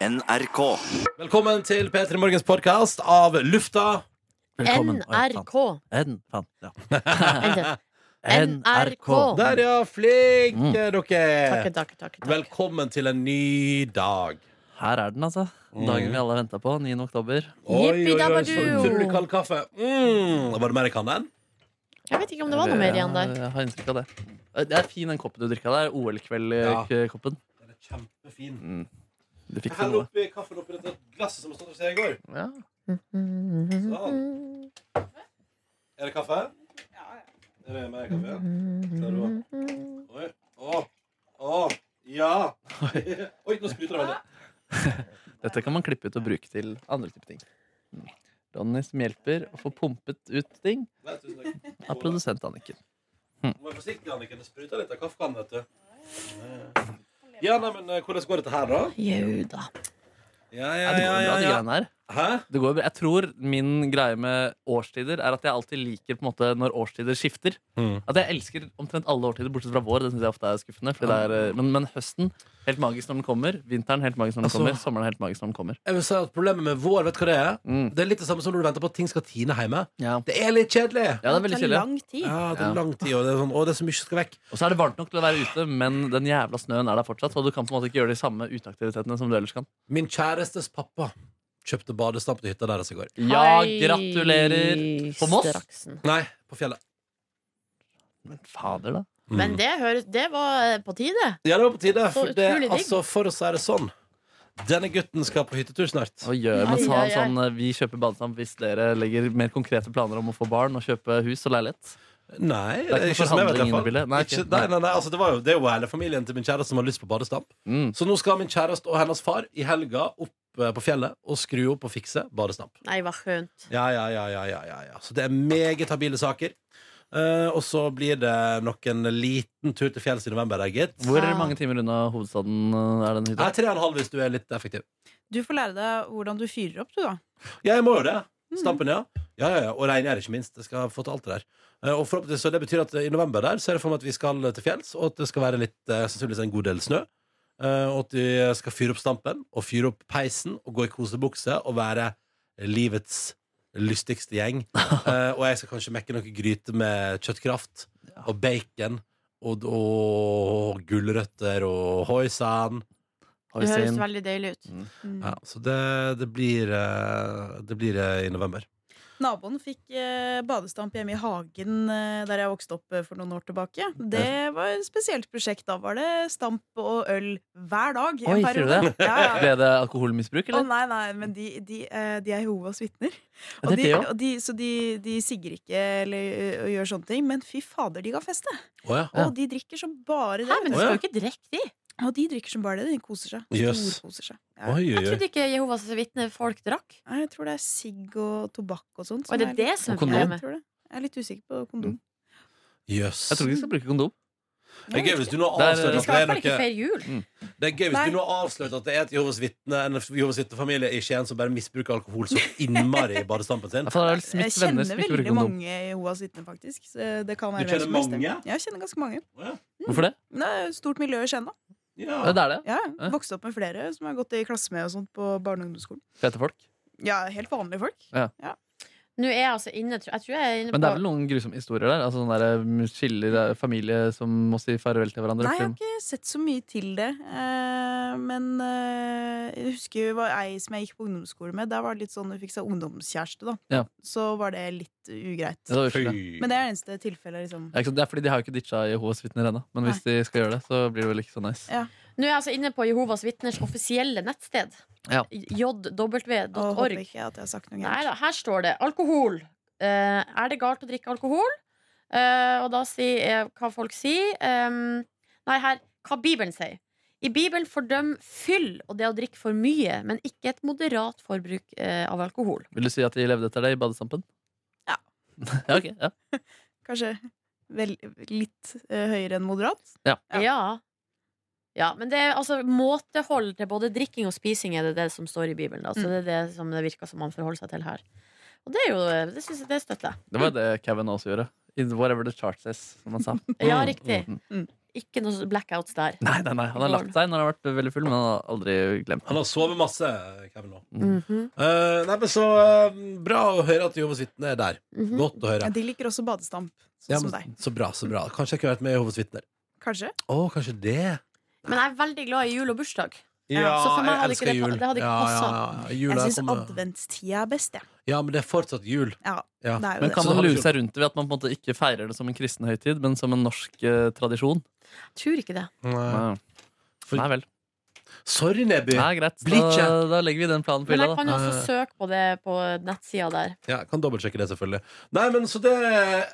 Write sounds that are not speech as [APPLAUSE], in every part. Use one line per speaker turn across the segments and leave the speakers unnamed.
NRK.
Velkommen til P3 Morgens podkast av lufta.
Velkommen. Oi, faen.
NRK.
N, faen. Ja.
Vent
[LAUGHS]
litt.
NRK.
NRK.
Der, ja. Flinke
Mm.
dere.
Takk, takk, takk, takk.
Velkommen til en ny dag.
Her er den, altså.
Mm.
Dagen vi alle har venta på. 9. oktober.
Yippee-dabba-doo.
så utrolig kald kaffe. Mm. Var det mer jeg kan enn?
Jeg vet ikke om det var noe mer igjen der.
Jeg har inntrykk av det. Det er fin, den koppen du drikka der. eh, OL-kveld-koppen.
Den er kjempefin.
Du fikk
Jeg
til
heller
noe.
oppi kaffen oppi dette glasset som har stått hos deg i går.
Ja.
Mm.
Sånn. Er det kaffe? Ja. Mm. Er det mer kaffe? Ser du hva? Oi. Å. Å. Ja. [LAUGHS] Oi, nå spruter det veldig.
Dette kan man klippe ut og bruke til andre typer ting. Mm. Ronny som hjelper å få pumpet ut ting
Nei, tusen takk.
av produsent Anniken.
Du må være forsiktig, Anniken. Det spruter litt av kaffekannen, vet du. Ja, nei, men eh, hvordan går dette her, da?
Jau da.
Ja,
Ja, det går bra, de greiene her.
Hæ?
Det går bra. Jeg tror min greie med årstider er at jeg alltid liker på en måte når årstider skifter.
Mm.
At jeg elsker omtrent alle årstider, bortsett fra vår. Det synes jeg ofte er skuffende fordi det er, eh, men, men høsten helt magisk når den kommer. Vinteren helt magisk når den
Altså-
kommer. Sommeren helt magisk når den kommer.
Jeg vil si at Problemet med vår vet du hva det er?
Mm.
Det er litt det samme som når du venter på at ting skal tine hjemme.
Ja.
Det er litt kjedelig.
ja, det er veldig
tar
kjedelig.
lang tid.
Ja, det
Ja.
er lang tid, og det er sånn, å, det er så mye som skal vekk.
Og så er det varmt nok til å være ute, men den jævla snøen er der fortsatt. Og du kan på en måte ikke gjøre de samme uteaktivitetene som du ellers kan.
Min kjærestes pappa kjøpte badestamp til hytta deres i går.
Ja, gratulerer!
Hei,
På Moss?
straksen.
Nei, på fjellet.
Men fader, da.
Men det, høres, det var eh, på tide.
Ja, det var på tide.
Så
For, det,
utrolig digg.
altså, for å si det sånn Denne gutten skal på hyttetur snart.
Og gjør men
Ai,
sa han
ai, ai.
sånn eh, Vi kjøper badestamp hvis dere legger mer konkrete planer om å få barn og kjøpe hus og leilighet.
Nei,
Det er ikke noe
som jeg vet, i hvert
forhandling
fall.
inne i bildet. Nei,
Ikke-
ok.
nei, nei, nei, altså, det, var jo, det er jo hele familien til min kjæreste som har lyst på badestamp.
Mm.
Så nå skal min kjæreste og hennes far i helga opp eh, på fjellet og skru opp og fikse badestamp.
Nei, hva skjønt.
Ja, ja, ja, ja, ja, ja, ja. Så det er meget habile saker. Eh, og så blir det nok en liten tur til fjells i november, der, gitt. Det
Hvor
Ah.
mange timer unna hovedstaden eh, er den hytta?
Ah,
er tre og en halv hvis du er litt effektiv.
Du får lære deg hvordan du fyrer opp, du, da.
Ja, jeg må jo det. Stampen, ja. Ja, ja, ja. Og reingjær, ikke minst. Jeg skal få til alt det der. Eh, Og forhåpentlig, så det betyr at i november der ser jeg for meg at vi skal til fjells, og at det skal være litt, eh, sannsynligvis en god del snø. Eh, Og at vi skal fyre opp stampen, og fyre opp peisen, og gå i kosebukse, og være livets lystigste [LAUGHS] gjeng. Eh, Og jeg skal kanskje mekke noe gryte med kjøttkraft, og bacon, og, og gulrøtter, og hoisan.
Har vi
Mm.
Det høres
sett-
veldig deilig ut.
Mm.
Mm.
Ja, så det, det blir eh, Det blir eh, i november.
Naboen fikk eh, badestamp hjemme i hagen eh, der jeg vokste opp eh, for noen år tilbake. Det var et spesielt prosjekt. Da var det stamp og øl hver dag.
Oi, sier du det?
Ja, ja.
[LAUGHS] Ble det alkoholmisbruk,
Å
eller?
nei, nei, men de, de, eh, de er Jehovas vitner.
Ja,
Og
det er
de,
det også.
og de, så de, de sigger ikke eller ø, og gjør sånne ting. Men fy fader, de ga feste!
Å ja.
Ja.
Og de drikker som bare
Hæ,
det.
men du
Å, ja.
skal jo ikke drikke de.
Og de drikker som bare det. De koser seg.
Jøss.
Storkoser seg. Ja.
Oi,
Jeg
oi, oi.
trodde ikke Jehovas vitnefolk drakk.
Nei, Jeg tror det er sigg og tobakk og sånt.
Og Sånn er det det som er
Og kondom.
problemet?
Jeg tror det. Jeg er litt usikker på kondom.
Jøss.
Jeg tror ikke vi skal bruke kondom.
Det er gøy hvis du nå
Der,
har avslørt
eh,
Vi
at
skal i
det er
hvert fall ikke
noe
feire jul.
Det er gøy hvis
Nei.
du nå har avslørt at det er et Jehovas vitne En Jehovas vitnefamilie i Skien som bare misbruker alkohol så innmari i badestampen sin.
Ja, for det er vel
Jeg
Smiths venner
kjenner
som ikke
veldig
bruker kondom.
mange Jehovas vitner, faktisk. Så Det kan
Du
være
kjenner
hvem som helst, det.
mange?
Ja, jeg kjenner ganske mange.
Hvorfor det?
Men Det er et stort miljø i Skien, da.
Ja.
Ja, Det er det.
Ja, jeg vokste opp med flere som jeg har gått i klasse med og sånt på barne- og ungdomsskolen.
Fete folk.
Ja, helt vanlige folk.
Nå er jeg altså inne Jeg tror jeg er inne
Men det er vel
på
noen grusomme historier der? Altså sånne der eh, skiller eh, familie som må si farvel til hverandre?
Nei, jeg har
fordi-
ikke sett så mye til det. eh, Men eh, jeg husker det var ei som jeg gikk på ungdomsskole med. Der var det litt sånn, Hun fikk seg ungdomskjæreste, da.
Ja.
Så var det litt ugreit.
Ja, det, var
Fy.
uskyldig.
Men det er det eneste tilfellet, liksom.
Ja, ikke sant? det er fordi de har jo ikke ditcha Jehovas vitner ennå. Men hvis de skal gjøre det, så blir det vel ikke så nice.
Ja.
Nå er jeg altså inne på Jehovas vitners offisielle nettsted.
Ja.
Og håper
jw.org.
ikke at jeg har sagt noe
Nei
gærent.
da, her står det alkohol. Eh, er det galt å drikke alkohol? Eh, og da sier eh, hva folk sier. ehm, nei, her hva Bibelen sier. I Bibelen fordøm fyll og det å drikke for mye, men ikke et moderat forbruk eh, av alkohol.
Vil du si at de levde etter det i badestampen?
Ja.
[LAUGHS] ja, ok, ja.
Kanskje vel, litt eh, høyere enn moderat.
Ja.
Ja.
ja. men det er altså måtehold til både drikking og spising er det det som står i Bibelen. Da. Så det er det som det virker som man forholder seg til her. Og det er jo, det, synes jeg, det støtter jeg.
Det var det Kevin også gjorde. In whatever the chart says, som han sa.
[LAUGHS] Ja, riktig.
Mm.
Mm.
Ikke noe blackouts der.
Nei, nei, nei, han har lagt seg når han har vært veldig full, men han har aldri glemt
Han har sovet masse, Kevin. nå.
Mhm,
Eh, nei, men så eh, bra å høre at Jehovas vitner er der.
mhm.
Godt å høre.
Ja, de liker også badestamp, sånn
Ja,
som
men,
deg.
så bra, så bra. Kanskje jeg kunne vært med i Jehovas vitner.
Kanskje?
Å, kanskje det.
Men jeg er veldig glad i jul og bursdag.
Ja,
så for meg
jeg
hadde ikke
elsker
det pa-
jul.
det hadde ikke
ja, ja,
passet.
ja, ja. Jul
Jeg
er
syns
kommet-
adventstida er best, jeg.
Ja, men det er fortsatt jul.
Ja.
Ja.
Det er jo
Men kan
det.
Så
man
han-
lure seg rundt det ved at man på en måte ikke feirer det som en kristen høytid, men som en norsk eh, tradisjon?
Jeg tror ikke det.
Nei.
Nei, nei vel.
Mm. Sorry, Neby.
Nei, greit.
Blir
Da,
ikke.
da legger vi den planen på
Men
hylla, da.
jeg kan jo også søke på det på nettsida der.
Ja, jeg kan dobbeltsjekke det, selvfølgelig. Nei, men så det,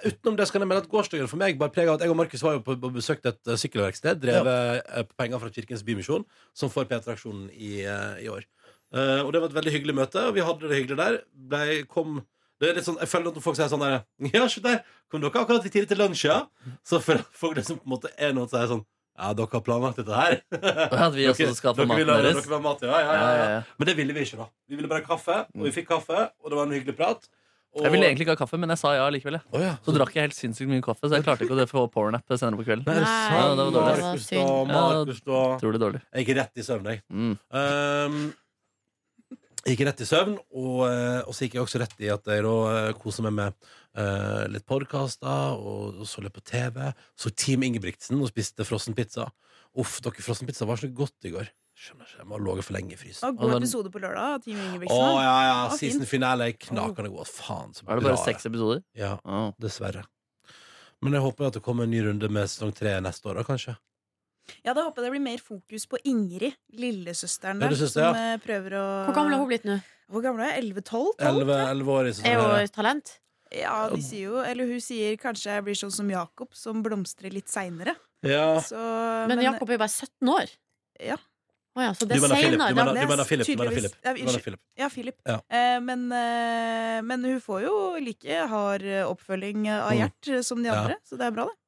Utenom det skal jeg melde at gårsdagen for meg bare preg av at jeg og Markus var jo på, på besøkt et eh, sykkelverksted, drevet eh, på penger fra Kirkens Bymisjon, som får P3-aksjonen i, eh, i år. Eh, og det var et veldig hyggelig møte, og vi hadde det hyggelig der. Ble, kom, det er litt sånn, jeg føler at når folk sier sånn der [LAUGHS] Ja, se der, kom dere akkurat i tide til lunsj, ja? Så føler jeg [LAUGHS] folk det som på en måte er noen som sier sånn Ja, dere har planlagt dette her?
Ja, at vi også skal
[LAUGHS]
få
dere
maten
vil ha-
deres.
Dere vil ha mat, ja, ja,
Ja,
ja, ja.
ja, ja.
Men det ville vi ikke, da. Vi ville bare ha kaffe, og vi fikk kaffe, og det var en hyggelig prat. Og...
Jeg ville egentlig ikke ha kaffe, men jeg sa ja likevel. jeg.
Å ja.
Så drakk jeg helt sinnssykt mye kaffe, så jeg klarte ikke å få powernap senere på kvelden.
Nei,
Nei,
sant.
det var dårlig.
Markus, da.
Ja, det
Markus, da.
Utrolig dårlig.
Jeg gikk rett i søvn, jeg.
Mm.
Ehm, jeg gikk rett i søvn, og, eh, og så gikk jeg også rett i at jeg da eh, koser meg med eh, litt podkaster, og, og så litt på TV. Så Team Ingebrigtsen og spiste frossenpizza. Uff, dere, frossenpizza var så godt i går. Skjønner ikke, jeg må ha ligget for lenge i fryseren.
Og god episode på lørdag. Team Ingebrigtsen.
Å ja, ja,
Ah, fin.
season finale er knakende god. Faen, så bra.
Er det bare
det
seks episoder?
Ja.
Å.
Dessverre. Men jeg håper at det kommer en ny runde med sesong tre neste år, da, kanskje.
Ja, da håper jeg det blir mer fokus på Ingrid, lillesøsteren der,
Lillesøster,
som
ja.
eh, prøver å
Hvor gammel er hun blitt nå?
Hvor gammel er hun? 11-12?
Elleve elleve år i
Er
sesong
hun
tre.
et talent?
Ja, de sier jo Eller hun sier kanskje jeg blir sånn som Jakob, som blomstrer litt seinere.
Ja.
Men Jakob er jo bare 17 år.
Ja.
Å ja, så
Du
det er
mener Philip, du
seinere.
mener,
da-
du mener Philip. Du mener
Tydeligvis.
Philip.
Ja,
Du mener
unnskyld.
Philip.
Ja, Philip.
Ja.
Eh, men, eh, men hun får jo like hard eh, oppfølging av
Mm.
Gjert eh, som de
Ja.
andre, så det er bra, det.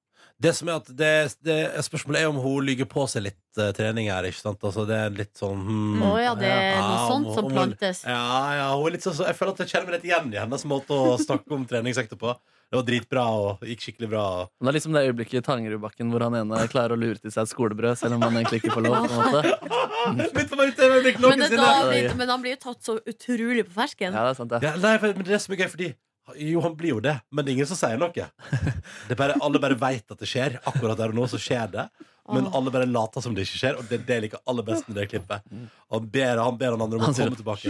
Det som er at det, det Spørsmålet er om hun lyger på seg litt eh, trening her. Ikke sant? Altså, det er litt sånn hmm,
Å ja, det er noe
ja, Ah,
sånt
om-
som
om hun-
plantes.
Ja, ja, hun er litt sånn så Jeg føler at jeg kjenner meg litt igjen i hennes måte å snakke om treningsøkter på. Det var dritbra og gikk skikkelig bra. og-
Men Det er liksom det øyeblikket i Tangerudbakken hvor han ene klarer å lure til seg et skolebrød, selv om han egentlig ikke får lov. på en måte
Mitt favorittøyeblikk
Mm. Men, det er
noensinne!
da, han blir- men han blir jo tatt så utrolig på fersken.
Ja, det er sant, det.
Ja, nei, for, men det er så mye gøy, fordi jo, han blir jo det, men det er ingen som sier noe. Det er bare, alle bare veit at det skjer. Akkurat der og nå så skjer det. Men
Åh.
alle bare later som det ikke skjer, og det er det jeg liker aller best med det klippet. Han ber han, ber han andre om
Han
å
sier
komme tilbake.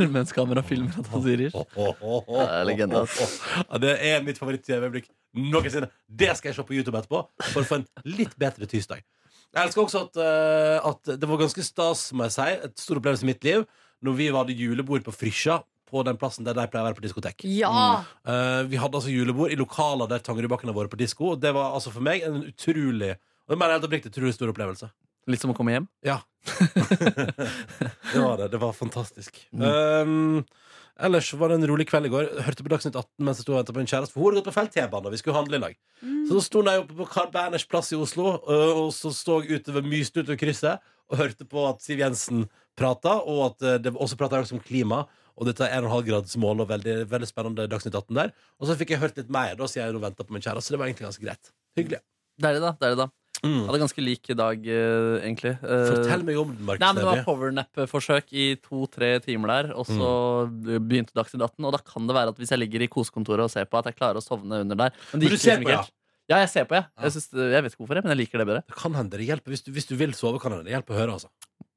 Ja.
Mens kamera filmer at han sier
Åh, åh, åh, åh,
Det er legende, ass.
åh, åh. Ja, det er mitt favoritt-øyeblikk noensinne. Det skal jeg se på YouTube etterpå, for å få en litt bedre tirsdag. Jeg elsker også at, eh, at det var ganske stas, må jeg si, et stor opplevelse i mitt liv, når vi hadde julebord på Frysja, på den plassen der de pleier å være på diskotek.
Ja!
Eh, vi hadde altså julebord i lokaler der Tangerudbakken har vært på disko, og det var altså for meg en utrolig og det mener jeg helt oppriktig, utrolig stor opplevelse.
Litt som å komme hjem.
Ja. [LAUGHS] det var det. Det var fantastisk. Um, ellers var det en rolig kveld i går. Hørte på Dagsnytt 18 mens jeg sto og venta på en kjæreste. For hun hadde gått på felt-T-banen, og vi skulle handle i lag. Så da sto jeg oppe på Carl Berners plass i Oslo, øh, og så stå jeg ute ved myste utover krysset og hørte på at Siv Jensen prata, og at øh, det også prata om klima. Og dette er 1,5-gradsmål og veldig, veldig spennende Dagsnytt 18 der. Og så fikk jeg hørt litt mer, da, siden jeg nå venta på min kjæreste. Så det var egentlig ganske greit. Hyggelig.
Deilig, da. deilig da Jeg
Mm.
hadde ganske lik dag, eh, egentlig. Eh,
Fortell meg om den, Markus
Nei, men Det var
Neby.
powernap-forsøk i to-tre timer der, og så
Mm.
begynte Dagsnytt 18. Og da kan det være at hvis jeg ligger i kosekontoret og ser på, at jeg klarer å sovne under der. Men, det
Men du
gikk
ser
liksom
på,
ikke
ja.
helt. Ja, jeg ser på, jeg.
Ja.
Jeg, synes, eh, jeg vet ikke hvorfor, jeg, men jeg liker det bedre.
Det kan hende det hjelper. Hvis du, hvis du vil sove, kan det hende det hjelper å høre. altså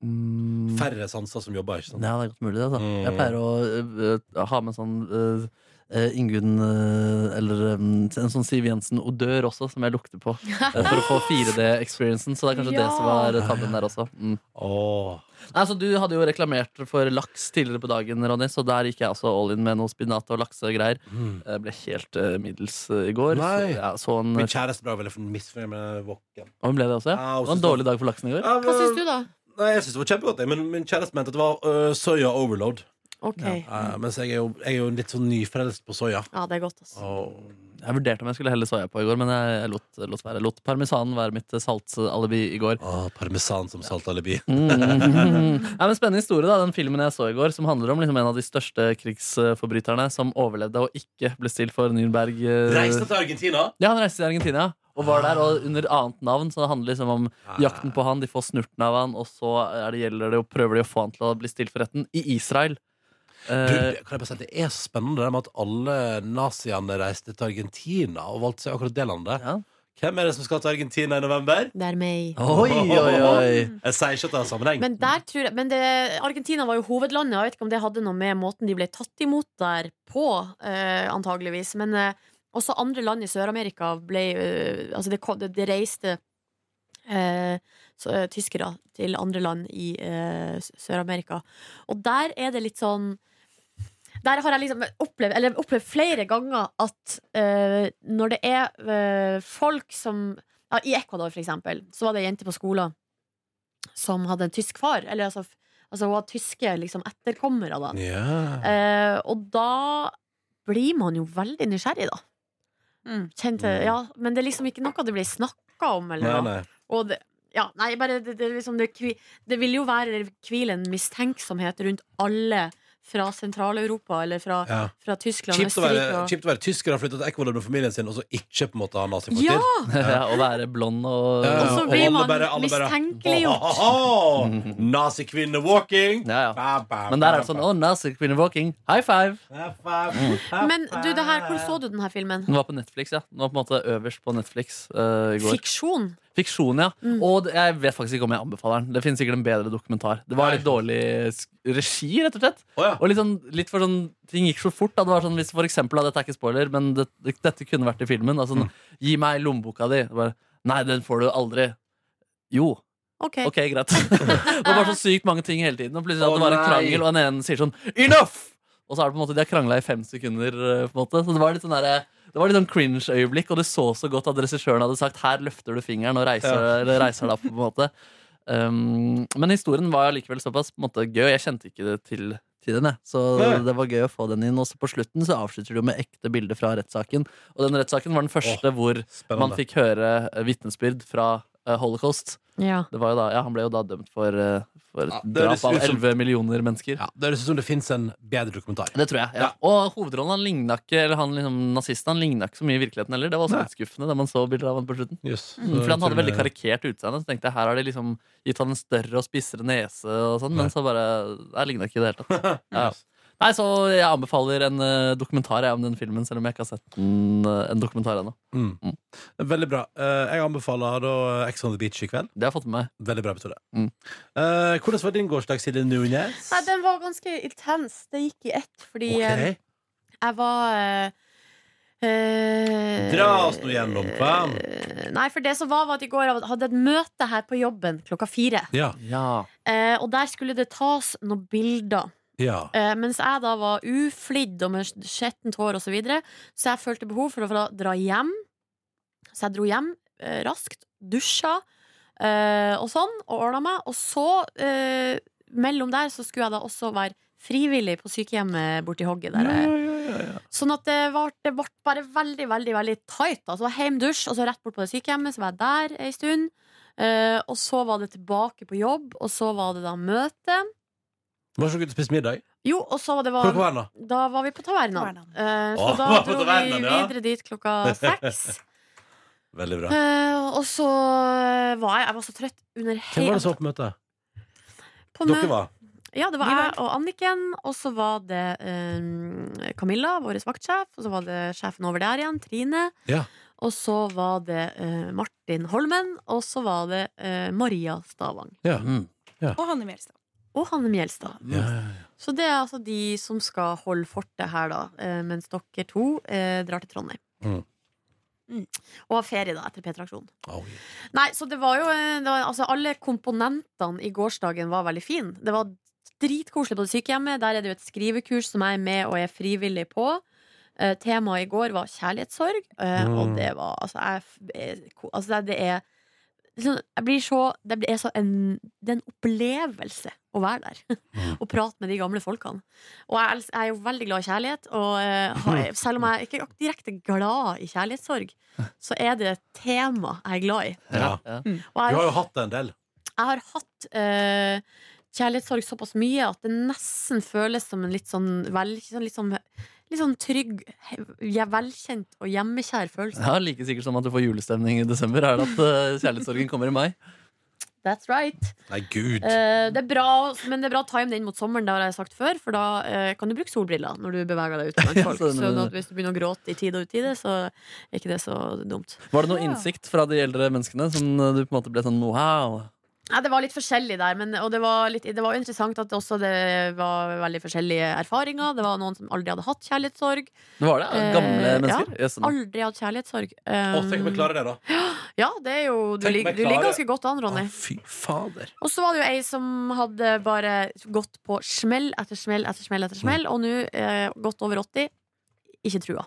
Mm.
Færre sanser som jobber. ikke sant?
Ja, det er godt mulig, det. Altså.
Sånn. Mm.
Jeg pleier å øh, øh, ha med sånn øh, øh, Ingunn øh, eller øh, en sånn Siv Jensen-odør også, som jeg lukter på. øh, For å få 4D-experiencen. Så det er kanskje det som var øh, tabben der også. Mm.
Åh.
Nei, så Du hadde jo reklamert for laks tidligere på dagen, Ronny, så der gikk jeg også all in med noe spinat og laksegreier.
Mm.
Jeg ble helt øh, middels øh, i går.
Nei.
Så, ja, så en,
Min kjæreste ble veldig misfornøyd med woken.
og hun ble det også, ja?
Ja, hun
Det var
synes
en dårlig dag for laksen i går.
Ja,
Hva syns du, da?
Nei, jeg synes det var kjempegodt, jeg, men min kjæreste mente at det var øh, soya overload.
Ok. Mm.
Eh, mens jeg er, jo, jeg er jo litt sånn nyfrelst på soya.
Ja, det er godt, altså.
Åh.
Jeg vurderte om jeg skulle helle soya på i går, men jeg, jeg lot, lot være. Lot parmesanen være mitt saltalibi i går.
Åh, parmesan som saltalibi.
[LAUGHS] Mm. Nei, men spennende historie, da. Den filmen jeg så i går, som handler om liksom, en av de største krigsforbryterne som overlevde og ikke ble stilt for Nürnberg. eh,
Reiste til Argentina.
Ja, han reiste til Argentina. Og var der og under annet navn, så det handler liksom om
Ah,
jakten på han, de får snurten av han, og så er det, gjelder det å prøver de å få han til å bli stilt for retten i Israel.
Du,
Eh,
det- kan jeg bare si at Det er så spennende det der med at alle naziene reiste til Argentina og valgte seg akkurat det landet.
Ja.
Hvem er det som skal til Argentina i november?
Det er meg.
Oi, oi, oi.
Jeg sier ikke at det har sammenheng.
Men, der tror jeg, men det, Argentina var jo hovedlandet. og Jeg vet ikke om det hadde noe med måten de ble tatt imot der på, eh, antageligvis. Men eh, også andre land i Sør-Amerika ble eh, Altså, det, kom, det, det reiste eh, så, eh, tyskere til andre land i eh, S- Sør-Amerika. Og der er det litt sånn der har jeg liksom opplevd, eller opplevd flere ganger at eh, når det er eh, folk som ja, I Ecuador, for eksempel, så var det ei jente på skolen som hadde en tysk far. Eller altså, f- altså hun var tyske liksom, etterkommere, da.
Ja.
Eh, og da blir man jo veldig nysgjerrig, da.
Mm.
Kjente,
Mm.
ja, men det er liksom ikke noe det blir snakka om. Eller,
Nei,
noe.
nei.
Og det, ja, nei, bare det, det, er liksom, det, kvi- det vil jo være det hvile en mistenksomhet rundt alle fra Sentral-Europa eller fra,
Ja.
fra Tyskland.
Kjipt å være,
Østerrike og-
kjipt å være tysker og flytte til Ecuador med familien sin, og så ikke på en måte ha nazipartier.
Ja!
[LAUGHS] Ja, Å være blond og
Ja,
Og
ja, Eh,
så
og
blir
alle
man
bare- alle bare,
mistenkeliggjort.
«Ho, ho, ho! Nazikvinne walking!
Ja, ja.
Ba, ba,
Men der er
ba,
det sånn
ba.
Å, nazikvinne walking. High five!
Ba, ba, ba,
Men du, det her, hvor
ba.
så du denne filmen?
Den var på Netflix, ja. Den var på en måte øverst på Netflix eh, i går.
Fiksjon?
Fiksjon, ja. Og det- jeg vet faktisk ikke om jeg anbefaler den. Det finnes sikkert en bedre dokumentar. Det var litt dårlig sk- regi, rett og slett.
Å, ja.
Og litt, sånn, litt for sånn, Ting gikk så fort. Da. Det var sånn, hvis for eksempel, da, Dette er ikke spoiler, men det, dette kunne vært i filmen. Altså, Gi meg lommeboka di. Det Bare, Nei, den får du aldri. Jo.
Ok.
Ok, greit. [LAUGHS] det var så sykt mange ting hele tiden. Og plutselig at
Å,
det var en
nei.
krangel, og den ene sier sånn Enough! Og så er det på en måte de har krangla i fem sekunder. eh, på en måte Så det var litt sånn derre- det var litt sånn cringe-øyeblikk, og det så så godt at regissøren hadde sagt 'her løfter du fingeren' og reiser, eller reiser deg opp. på en måte um, Men historien var likevel såpass på en måte, gøy, og jeg kjente ikke det til, til den. Jeg. Så
Nei.
det var gøy å få den inn. Og så på slutten så avslutter du jo med ekte bilder fra rettssaken. Og den rettssaken var den første hvor man
Spennende.
fikk høre eh, vitnesbyrd fra eh, holocaust.
Ja.
Det var jo da, ja, han ble jo da dømt for, eh, for
Ja, det høres
drap av
ut som-
11 millioner mennesker.
Ja, det høres ut som det fins en bedre dokumentar.
Det tror jeg, ja.
Ja.
Og hovedrollen han lignet ikke Eller han liksom, nazisten han lignet ikke så mye i virkeligheten heller. Det var også litt skuffende, det man så bilder av han på slutten.
Yes.
Mm,
Så
Fordi han hadde
til-
veldig karikert utseende. Så tenkte jeg her har de liksom gitt han en større og spissere nese og sånn, men så bare Jeg lignet ikke i det hele tatt. Ja.
Yes.
Nei, så jeg anbefaler en eh, dokumentar jeg, om den filmen, selv om jeg ikke har sett den, eh, en dokumentar ennå.
Mm. Veldig bra. Eh, Jeg anbefaler da eh, Ex on the Beach i kveld.
Det har jeg fått med meg.
Veldig bra episode.
Mm.
Eh, Hvordan var din gårsdag, Silje Nunes?
Nei, den var ganske intens. Det gikk i ett, fordi eh,
Ok.
jeg var eh, eh,
Dra oss nå gjennom, kvam.
eh, Nei, for det som var, var at i går jeg hadde et møte her på jobben klokka fire.
Ja.
Ja.
Eh, og der skulle det tas noen bilder.
ja.
Eh, mens jeg da var uflidd og med skjettent hår osv., så, videre, så jeg følte behov for å få dra hjem. Så jeg dro hjem eh, raskt, dusja eh, og sånn, og ordna meg. Og så, eh, mellom der, så skulle jeg da også være frivillig på sykehjemmet borti hogget. Der. jeg- Sånn at det ble, det vart bare veldig, veldig veldig tight. Altså det var hjem, dusj, og så rett bort på det sykehjemmet. Så var jeg der ei stund. Eh, og så var det tilbake på jobb, og så var det da møte.
Var ikke dere ute og spiste middag?
Jo, og så var det
Hvor
var
var den, da?
da var vi på tavernaen.
Tavernaen.
Eh, så
Åh,
da
var på
dro vi
tavernaen, ja.
videre dit
[LAUGHS]
klokka seks.
Veldig bra.
Eh, og så eh, var jeg Jeg var så trøtt under
Hvem var det
hele
som var på møtet?
på mø-
Dere var?
Ja, det var
Vi var.
jeg og Anniken, og så var det eh, Camilla, vår vaktsjef, og så var det sjefen over der igjen, Trine.
Ja.
Og så var det eh, Martin Holmen, og så var det eh, Maria Stavang.
Ja.
Mm.
Og Hanne Mjelstad.
Og Hanne Mjelstad.
Ja, ja, ja.
Så det er altså de som skal holde fortet her, da, eh, mens dere to eh, drar til Trondheim.
Mm.
Mm. Og har ferie, da, etter P-traksjonen.
Oh, yeah.
Nei, så det var jo eh, det var, altså, Alle komponentene i gårsdagen var veldig fine. Det var dritkoselig på det sykehjemmet. Der er det jo et skrivekurs som jeg er med og er frivillig på. Eh, temaet i går var kjærlighetssorg, eh,
Mm.
og det var Altså, jeg, f- eh, ko- altså det, det er liksom, jeg blir så, det er så en, det er en opplevelse å være der [LAUGHS]
Mm.
og prate med de gamle folkene. Og jeg, els- jeg er jo veldig glad i kjærlighet, og
[LAUGHS]
eh, har, selv om jeg er ikke er direkte glad i kjærlighetssorg, så er det et tema jeg er glad i.
Ja.
Ja.
Og
Du har
jeg,
jo hatt det en del.
jeg har hatt eh, kjærlighetssorg såpass mye at det nesten føles som en litt sånn, vel, sånn litt sånn litt sånn trygg, he- ja, velkjent og hjemmekjær følelse.
Ja, Like sikkert som at du får julestemning i desember, er det at eh, kjærlighetssorgen kommer i mai.
That's right.
Nei, gud.
Eh, det er bra, men det er bra å time det inn mot sommeren, det har jeg sagt før. For da eh, kan du bruke solbriller når du beveger deg ut
[LAUGHS]
blant
Ja,
folk.
sånn,
sånn
eh.
at hvis du begynner å gråte i tide og utide, så er ikke det så dumt.
Var det noe
Ja.
innsikt fra de eldre menneskene som eh, du på en måte ble sånn wow?
Nei, det var litt forskjellig der, men, og det var, litt, det var jo interessant at også det var veldig forskjellige erfaringer. Det var noen som aldri hadde hatt kjærlighetssorg.
Det var det?
Eh,
Gamle
ja.
mennesker? Jøss, nå-
Aldri hatt kjærlighetssorg.
Å, tenk om jeg
Um,
klarer det, da.
Ja, det er jo Du,
Tenk om
lig,
jeg
du ligger
klarer-
ganske godt an, Ronny.
Å, fy fader.
Og så var det jo ei som hadde bare gått på smell etter smell etter smell, etter
Mm.
smell og nå eh, godt over 80. Ikke trua.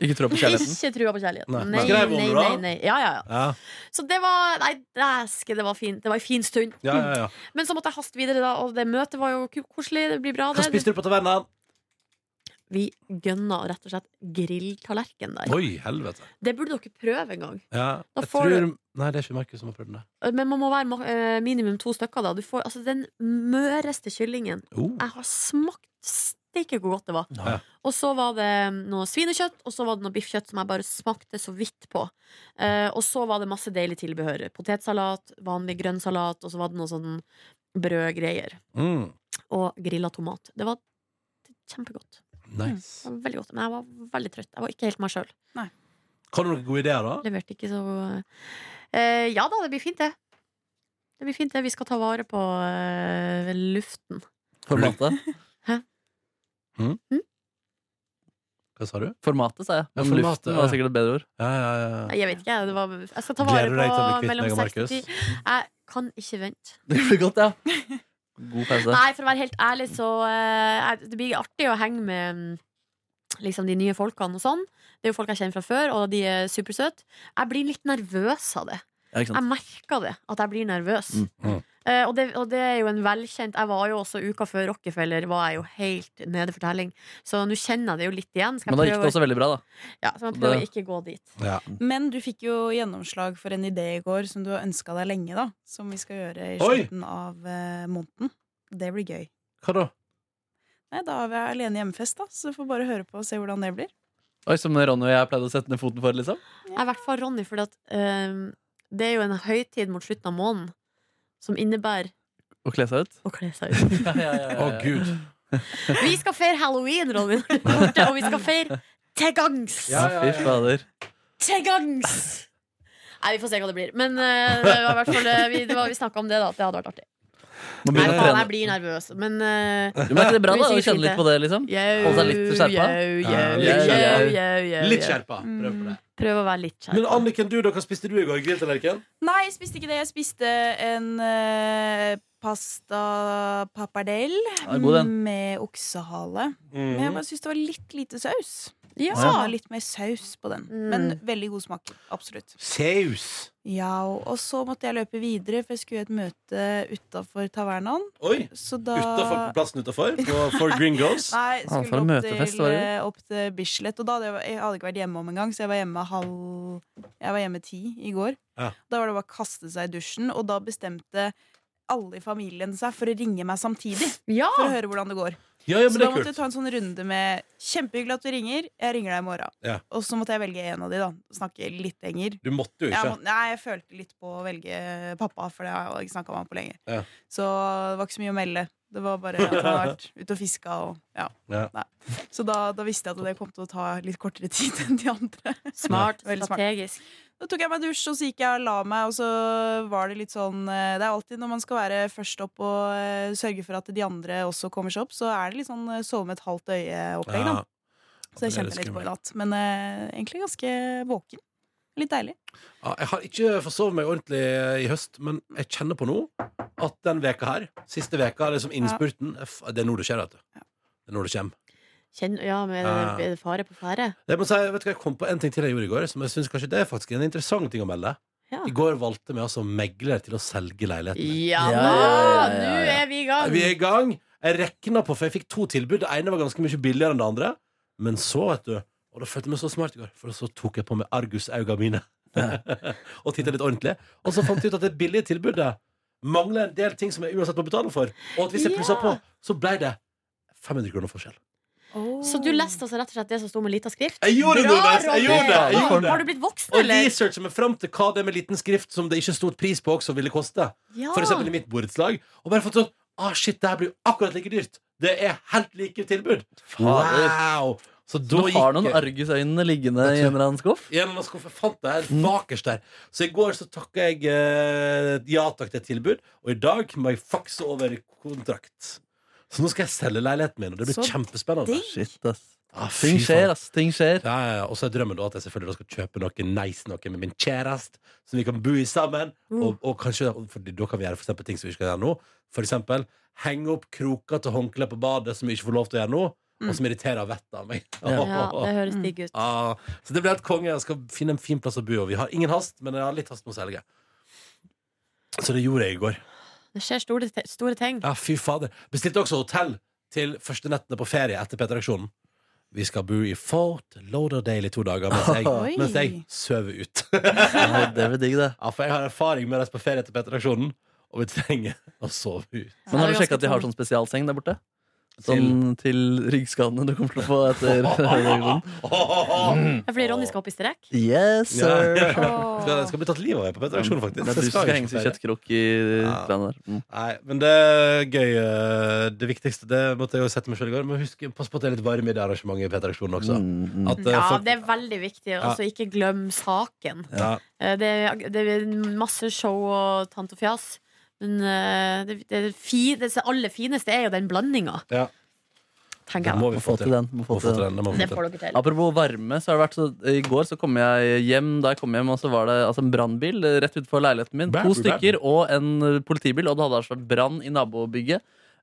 Ikke tro på kjærligheten?
[LAUGHS] Ikke trua på kjærligheten.
Nei.
Nei, nei,
Skrev hun
nei,
det
nei,
da?
Ja, ja, ja.
Ja,
Så det var Nei, dæske, det var fint. Det var en fin stund.
ja, ja, ja.
Men så måtte jeg haste videre, da, og det møtet var jo ku- koselig. Det blir bra,
Hva
det.
spiste du på tavernaen?
Vi gønna rett og slett grilltallerken der.
Oi, helvete.
Det burde dere prøve en gang.
Ja,
Da
jeg
får
tror Nei, det er ikke Markus som har prøvd det.
Men man må være ma- eh, minimum to stykker, da. Du får altså den møreste kyllingen.
Oh.
Jeg har smakt steike hvor godt det var.
Ja.
Og så var det noe svinekjøtt, og så var det noe biffkjøtt som jeg bare smakte så vidt på. Eh, og så var det masse deilig tilbehør. Potetsalat, vanlig grønnsalat, og så var det noe sånn brødgreier.
Mm.
Og grilla tomat. Det var kjempegodt. Det
Nice.
var veldig godt, Men jeg var veldig trøtt. Jeg var ikke helt meg sjøl.
Kan du noen gode ideer, da?
Leverte ikke så eh, Ja da, det blir fint, det. Det blir fint, det. Vi skal ta vare på eh, luften.
Formatet,
Hva sa du?
formatet sa jeg.
Ja,
Men
formatet,
luften
ja.
var sikkert et bedre ord. [LAUGHS]
Ja, ja, ja.
Nei, jeg vet ikke, jeg. Det var, jeg skal ta vare
Gleder du deg til å bli
på
kvitt meg
mellom
og
6 og
Markus?
10. Jeg kan ikke vente.
Det blir godt, ja. God pause.
Nei, for å være helt ærlig, så eh, jeg- Det blir artig å henge med mm, liksom, de nye folkene og sånn. Det er jo folk jeg kjenner fra før, og de er supersøte. Jeg blir litt nervøs av det.
Ja, ikke
Jeg
sant?
merker det, at jeg blir nervøs.
Mm,
mm.
Eh, og, det, og det er jo en velkjent Jeg var jo også uka før Rockefeller, var jeg jo helt nede for telling. Så nå kjenner jeg det jo litt igjen. Skal
Men da
jeg
gikk det
prøve,
også veldig bra, da.
ja, så jeg prøver å
det-
ikke gå dit.
ja.
Men du fikk jo gjennomslag for en idé i går som du har ønska deg lenge, da. Som vi skal gjøre i
Oi!
slutten av eh, måneden. Det blir gøy.
Hva da?
Nei, da har vi alene hjemmefest, da, så du får bare høre på og se hvordan det blir.
Oi, Som Ronny og jeg pleide å sette ned foten for, liksom.
Jeg er i hvert fall Ronny, for det er jo en høytid mot slutten av måneden som innebærer
Og kle seg ut.
å kle seg ut.
Ja, ja, ja,
Å,
ja, ja.
gud.
Vi skal feire halloween, Ronny, når du er borte, og vi skal feire til gangs!
Ja, ja, ja.
Fy fader.
Til gangs! Nei, vi får se hva det blir. Men eh, det var i hvert fall eh, vi, det var- vi snakka om det, da. At det hadde vært artig.
Må
Nei,
begynne å
faen, jeg
trene.
blir nervøs. Men
[LAUGHS]
Men
uh,
er ikke det bra,
Det blir
da? Å
sikkert fint,
kjenne litt
det.
på det, liksom? Holde seg litt skjerpa?
Ja,
Jau,
litt
jau,
skjerpa.
jau, jau, jau.
Litt skjerpa.
mm.
Prøv på det.
Prøv å være litt
Men
skjerpa.
Anniken, du, da, hva spiste du i går? Grilltallerken?
Nei, jeg spiste ikke det. Jeg spiste en eh, pasta pappardell
Ja, god den.
med oksehale. Men jeg
Mm.
bare syns det var litt lite saus.
Ja.
Savna litt mer saus på den.
Mm.
Men veldig god smak. Absolutt.
Saus.
Ja, og og så måtte jeg løpe videre, for jeg skulle i et møte utafor tavernaen.
Oi.
Så da
Utafor plassen utafor? På For Gringos? [LAUGHS]
Nei,
Ah, for
skulle
en
opp
møtefest,
til,
var det?
eh, opp til Bislett. Og da hadde jeg, jeg hadde ikke vært hjemme om engang, så jeg var hjemme halv Jeg var hjemme ti i går.
Ja.
Da var det bare å kaste seg i dusjen, og da bestemte alle i familien seg for å ringe meg samtidig.
Ja!
For å høre hvordan det går.
Ja, ja,
Så
men det
da
er
måtte jeg
kult.
ta en sånn runde med 'kjempehyggelig at du ringer, jeg ringer deg i morgen'.
Ja.
Og så måtte jeg velge en av de, da. Snakke litt lenger.
Du måtte jo
Jeg,
ikke.
må, nei, jeg følte litt på å velge pappa, for det har jeg ikke snakka med han på lenge.
Ja.
Så det var ikke så mye å melde. Det var bare at han
[LAUGHS]
har vært ute og fiska og ja.
Ja.
Nei. Så da, da visste jeg at det kom til å ta litt kortere [LAUGHS] tid enn de andre.
Smart.
Veldig smart.
Strategisk.
Da tok jeg meg en dusj, og så gikk jeg og la meg, og så var det litt sånn eh, Det er alltid når man skal være først opp og eh, sørge for at de andre også kommer seg opp, så er det litt sånn eh, sove med et halvt øye-opplegg, da.
Ja. det er
Så jeg
litt
kjente litt på
skummelt.
i natt. Men eh, egentlig ganske våken. Litt deilig.
Ja, jeg har ikke forsovet meg ordentlig i høst, men jeg kjenner på nå at den veka her, siste veka, liksom innspurten f- Det er nå det skjer, vet du. Det er nå det kommer.
Kjenn, ja, med
Ja.
er det fare på ferde.
Jeg, må si, vet du, hva, jeg kom på en ting til jeg gjorde i går, som jeg synes kanskje det er faktisk en interessant ting å melde.
Ja.
I går valgte vi altså megler til å selge leiligheten.
Ja,
Ja,
nå
ja, ja, ja, ja.
er vi i gang!
Vi er i gang. Jeg rekna på, for jeg fikk to tilbud. Det ene var ganske mye billigere enn det andre. Men så, vet du Og da følte jeg meg så smart i går, for så tok jeg på meg argusauga mine [LAUGHS] og titta litt ordentlig. Og så fant jeg ut at det billige tilbudet mangler en del ting som jeg uansett må betale for. Og at hvis jeg plussa
Ja.
på, så ble det 500 kroner forskjell.
Så du leste altså rett og slett det som sto med lita skrift?
Jeg gjorde det, Nordnes! Jeg gjorde det! Jeg
Har,
gjorde
har
det.
du blitt voksen,
Og
eller?
researcher meg fram til hva det med liten skrift som det ikke stod pris på, også ville koste.
Ja.
For eksempel i mitt borettslag. Og bare fått sånn Ah, shit, det her blir jo akkurat like dyrt. Det er helt like tilbud. Wow! Så
Du
da
har noen
gikk jeg
argusøyne liggende i en eller annen skuff?
i en eller annen skuff. Jeg fant det her bakerst der. Så i går så takka jeg eh, ja takk til et tilbud, og i dag må jeg fakse over kontrakt. Så nå skal jeg selge leiligheten min, og det blir
Så
kjempespennende.
digg.
Shit, ass.
Ah, fy
Ting
faen.
skjer, ass. Ting skjer.
Ja, ja, ja. Og så er drømmen da at jeg selvfølgelig da skal kjøpe noe nice noe med min kjæreste, som vi kan bo i sammen.
Mm.
Og, og kanskje fordi Da kan vi gjøre for eksempel ting som vi ikke kan gjøre nå. For eksempel henge opp kroker til håndkle på badet som vi ikke får lov til å gjøre nå, og som irriterer vettet av meg.
Mm.
[LAUGHS]
Ja, det høres digg ut.
Ah, så det blir helt konge. Jeg skal finne en fin plass å bo. Og vi har ingen hast, men jeg har litt hast med å selge. Så det gjorde jeg i går.
Det skjer store, te- store ting.
Ja, fy fader. Bestilte også hotell til første nettene på ferie etter P3-aksjonen. Vi skal bo i Fort Lauderdale i to dager mens
Oi.
jeg, mens jeg sover ut. [LAUGHS]
Ja, det blir digg, det.
ja, for jeg har erfaring med å reise på ferie etter P3-aksjonen, og vi trenger å sove ut.
Men har du
Ja, det er
sjekka at de
ganske
har sånn spesialseng der borte? Sånn til ryggskadene du kommer til å få
[LAUGHS]
etter reaksjonen.
Ja, fordi Ronny skal opp i strekk.
Yes,
Ja, [LAUGHS] ja.
sir!
Skal,
Åh.
skal bli tatt livet av jeg på P3-aksjonen, faktisk.
Men du
Jeg
skal
ikke
henge
på
til
ferie.
kjøttkrok i
Ja.
greiene der. Mm.
Nei, men det er gøy. eh, Det viktigste det måtte jeg jo sette meg selv i går. Men husk, pass på at det er litt varme i det arrangementet i P3-aksjonen også.
Mm, mm.
At, eh,
Ja,
folk-
det er veldig viktig. Og så ikke glem saken.
ja.
Eh, Det er, det er masse show og tant og fjas. Men eh, det, det, fi, det aller fineste er jo den blandinga,
Ja. Det
tenker jeg.
må vi
Få til den. Må
Må
få til den.
det må vi få
Det
til.
får dere til.
Apropos varme, så har det vært så, I går så kom jeg hjem, da jeg kom hjem, og så var det altså, en brannbil eh, rett utenfor leiligheten min.
Bæ,
To
bæ.
stykker og en eh, politibil, og det hadde altså vært brann i nabobygget.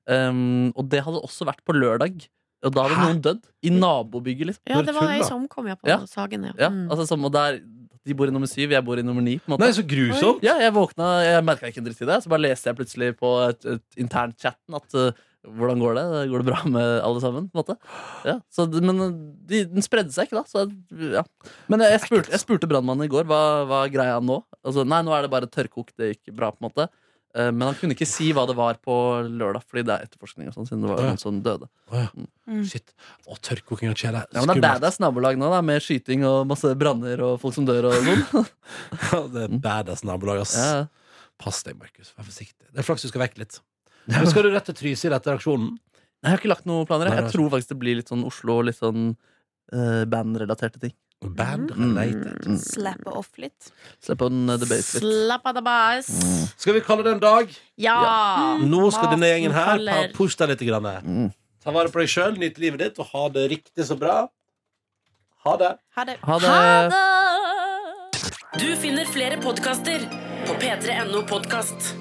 Um, og det hadde også vært på lørdag. Og da hadde
Hæ?
noen dødd. I nabobygget, liksom.
Ja, det var
Tull,
ei
da.
som omkom, ja, på
Ja.
Sagen. Ja.
Ja,
Mm.
altså, som, og der, de bor i nummer syv, jeg bor i nummer ni. På en måte.
Nei, så grusomt!
Ja, jeg våkna, jeg merka ikke en dritt i det. Så bare leste jeg plutselig på et, et internchatten at eh, hvordan går det? Går det bra med alle sammen? på en måte? Ja, så, det- men eh, de, den spredde seg ikke, da. Så, jeg- ja. Men jeg, jeg spurte, jeg spurte brannmannen i går hva, hva er greia nå. Altså, nei, nå er det bare tørrkokt. Det gikk bra. på en måte Eh, Men han kunne ikke si hva det var på lørdag, fordi det er etterforskning. og sånn, siden det var
Ja.
noen som døde
Å, ja.
Mm.
Shit. Å, tørrkoking av kjele.
ja, men Det er badass nabolag nå, da med skyting og masse branner og folk som dør. og
[LAUGHS]
sånn
Skummelt. Det er badass nabolag, ass.
ja.
Pass deg, Markus. Vær forsiktig. Det er flaks du skal vekk
[LAUGHS]
litt. Men skal du rett til Trysil etter aksjonen?
Nei, Jeg har ikke lagt noen planer.
Nei,
Jeg,
nei.
jeg tror faktisk det blir litt sånn Oslo og litt sånn eh, bandrelaterte ting.
Band
Mm.
related.
Mm.
Slappe off litt.
Slipp on the bass litt.
Slapp av, da, bass.
Skal vi kalle det en dag?
Ja! Mm.
Nå skal denne gjengen her
Maten faller.
pa- pushe deg litt. Grann.
Mm.
Ta vare på deg sjøl, nyt livet ditt, og ha det riktig så bra. Ha det.
Ha det.
Ha det!
det.
Du finner flere podkaster på p3.no podkast.